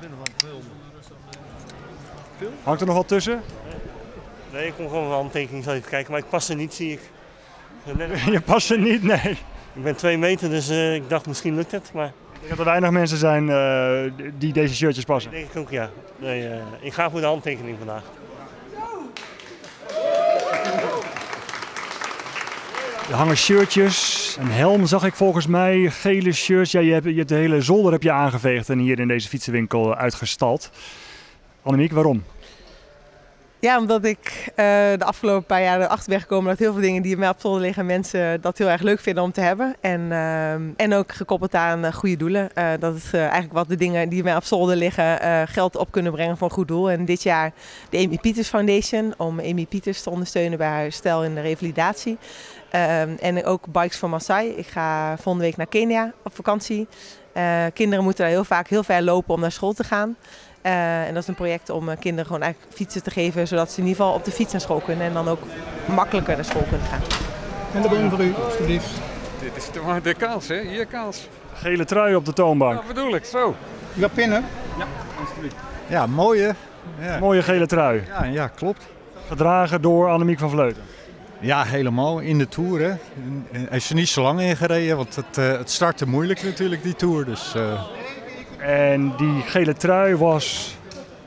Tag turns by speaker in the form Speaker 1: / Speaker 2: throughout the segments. Speaker 1: binnen van film.
Speaker 2: Hangt er nog wat tussen?
Speaker 3: Nee, ik kon gewoon een handtekening even kijken, maar ik pas er niet, zie ik. Net-
Speaker 2: Je past er niet, nee.
Speaker 3: Ik ben twee meter, dus eh, ik dacht misschien lukt het, maar
Speaker 2: Ik denk dat er weinig mensen zijn eh, die deze shirtjes passen.
Speaker 3: denk ik ook ja. Nee, eh, ik ga voor de handtekening vandaag.
Speaker 2: Er hangen shirtjes, een helm zag ik volgens mij, gele shirts. Ja, je hebt, je hebt de hele zolder heb je aangeveegd en hier in deze fietsenwinkel eh, uitgestald. Annemiek, waarom?
Speaker 4: Ja, omdat ik eh, de afgelopen paar jaar erachter ben gekomen dat heel veel dingen die in mij op zolder liggen, mensen dat heel erg leuk vinden om te hebben. En, ehm, en ook gekoppeld aan eh, goede doelen. Eh, dat is eh, eigenlijk wat de dingen die in mij op zolder liggen eh, geld op kunnen brengen voor een goed doel. En dit jaar de Amy Pieters Foundation, om Amy Pieters te ondersteunen bij haar stel in de revalidatie. Ehm, en ook Bikes voor Maasai. Ik ga volgende week naar Kenia op vakantie. Eh, kinderen moeten daar heel vaak heel ver lopen om naar school te gaan. Eh, en dat is een project om eh, kinderen gewoon eigenlijk fietsen te geven, zodat ze in ieder geval op de fiets naar school kunnen en dan ook makkelijker naar school kunnen gaan.
Speaker 5: En de bon voor u, alstublieft.
Speaker 1: Dit is de, de kaas, hè? Hier kaas.
Speaker 2: Gele trui op de toonbank.
Speaker 1: Dat bedoel ik, zo.
Speaker 5: U gaat pinnen.
Speaker 6: Ja, mooi hè? Ja,
Speaker 2: Mooie gele trui.
Speaker 6: ja, ja klopt.
Speaker 2: Gedragen door Annemiek van Vleuten.
Speaker 6: Ja, helemaal. In de Tour hè. En- en Hij is er niet zo lang in gereden, want het, eh, het startte moeilijk natuurlijk die Tour. Dus eh,
Speaker 2: En die gele trui was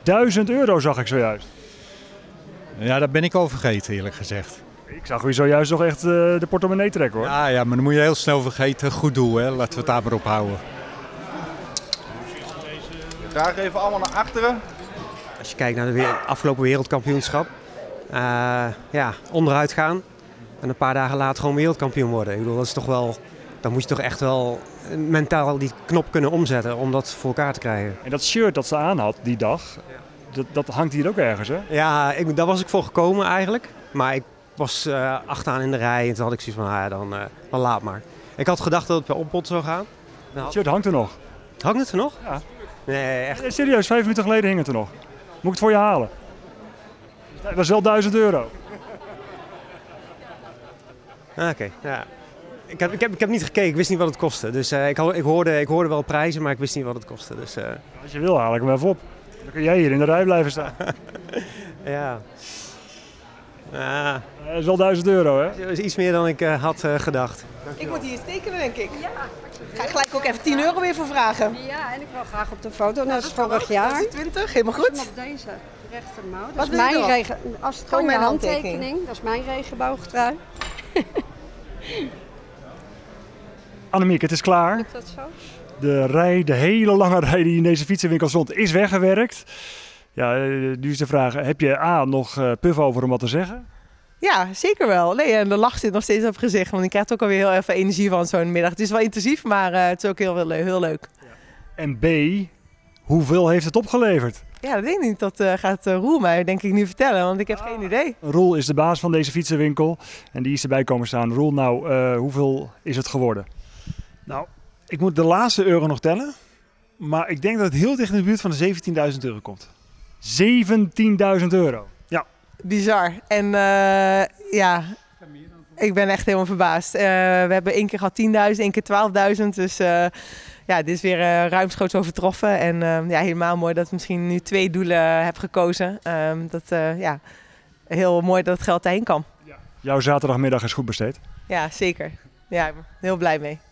Speaker 2: 1000 euro, zag ik zojuist.
Speaker 6: ja, daar ben ik over vergeten eerlijk gezegd.
Speaker 2: Ik zag u zojuist nog echt eh, de portemonnee trekken hoor.
Speaker 6: Ja, ja, maar dan moet je heel snel vergeten. Goed doel hè, laten we het daar maar op houden.
Speaker 5: Daar even allemaal naar achteren.
Speaker 7: Als je kijkt naar de we- afgelopen wereldkampioenschap. eh, ja, onderuit gaan. En een paar dagen later gewoon wereldkampioen worden. Ik bedoel, dat is toch wel... Dan moet je toch echt wel eh, mentaal die knop kunnen omzetten om dat voor elkaar te krijgen.
Speaker 2: En dat shirt dat ze aan had die dag, dat, dat hangt hier ook ergens hè?
Speaker 7: Ja, ik, daar was ik voor gekomen eigenlijk. Maar ik was eh, achteraan in de rij en toen had ik zoiets van, ah, ja, dan, eh, dan laat maar. Ik had gedacht dat het bij Oppot zou gaan.
Speaker 2: Het shirt hangt er nog.
Speaker 7: Hangt het er nog?
Speaker 2: Ja.
Speaker 7: Nee, echt.
Speaker 2: Eh, Serieus, vijf minuten geleden hing het er nog. Moet ik het voor je halen? Dat is wel 1000 euro.
Speaker 7: Ah, Oké, ja. Ik heb, ik, heb, ik heb niet gekeken, ik wist niet wat het kostte. Dus eh, ik, had- ik, hoorde, ik hoorde wel prijzen, maar ik wist niet wat het kostte. Dus eh,
Speaker 2: Als je wil haal ik hem even op. Dan kun jij hier in de rij blijven staan.
Speaker 7: ja. Ah,
Speaker 2: Eh, Dat is wel 1000 euro hè?
Speaker 7: dat is iets meer dan ik eh, had eh, gedacht.
Speaker 4: Ik moet hier tekenen, denk ik. Ga ik gelijk ook even 10 euro weer voor vragen.
Speaker 8: Ja, en ik wil graag op de foto. Nou, dat is vorig
Speaker 4: Dat
Speaker 8: jaar.
Speaker 4: is 20, helemaal
Speaker 8: En
Speaker 4: goed.
Speaker 8: Op deze rechtermouw. Dat
Speaker 4: Wat
Speaker 8: is
Speaker 4: wil je
Speaker 8: mijn
Speaker 4: erop?
Speaker 8: regen... Als
Speaker 4: Gewoon
Speaker 8: het gewoon
Speaker 4: mijn
Speaker 8: mijn
Speaker 4: handtekening.
Speaker 8: handtekening. Dat is mijn regenboogtrui.
Speaker 2: Annemiek, het is klaar.
Speaker 8: Is dat zo?
Speaker 2: De rij, de hele lange rij die in deze fietsenwinkel stond, is weggewerkt. Ja, eh, nu is de vraag, heb je A, nog eh, puf over om wat te zeggen?
Speaker 4: Ja, zeker wel. Nee, en de lach zit nog steeds op het gezicht, want ik krijg er ook alweer heel even energie van zo'n middag. Het is wel intensief, maar eh, het is ook heel, heel, heel leuk.
Speaker 2: En B, hoeveel heeft het opgeleverd?
Speaker 4: Ja, dat weet ik niet. Dat eh, gaat eh, Roel mij denk ik nu vertellen, want ik heb geen idee.
Speaker 2: Roel is de baas van deze fietsenwinkel en die is erbij komen staan. Roel, nou, eh, hoeveel is het geworden?
Speaker 9: Nou, ik moet de laatste euro nog tellen. Maar ik denk dat het heel dicht in de buurt van de 17.000 euro komt.
Speaker 2: 17.000 euro.
Speaker 4: Bizar. En eh, ja, ik ben echt helemaal verbaasd. Eh, we hebben één keer gehad 10.000, één keer 12.000. Dus eh, ja, dit is weer eh, ruimschoots overtroffen. En eh, ja, helemaal mooi dat ik misschien nu twee doelen heb gekozen. Ehm, dat, eh, ja, heel mooi dat het geld daarheen kan.
Speaker 2: Jouw zaterdagmiddag is goed besteed.
Speaker 4: Ja, zeker. Ja, ik ben heel blij mee.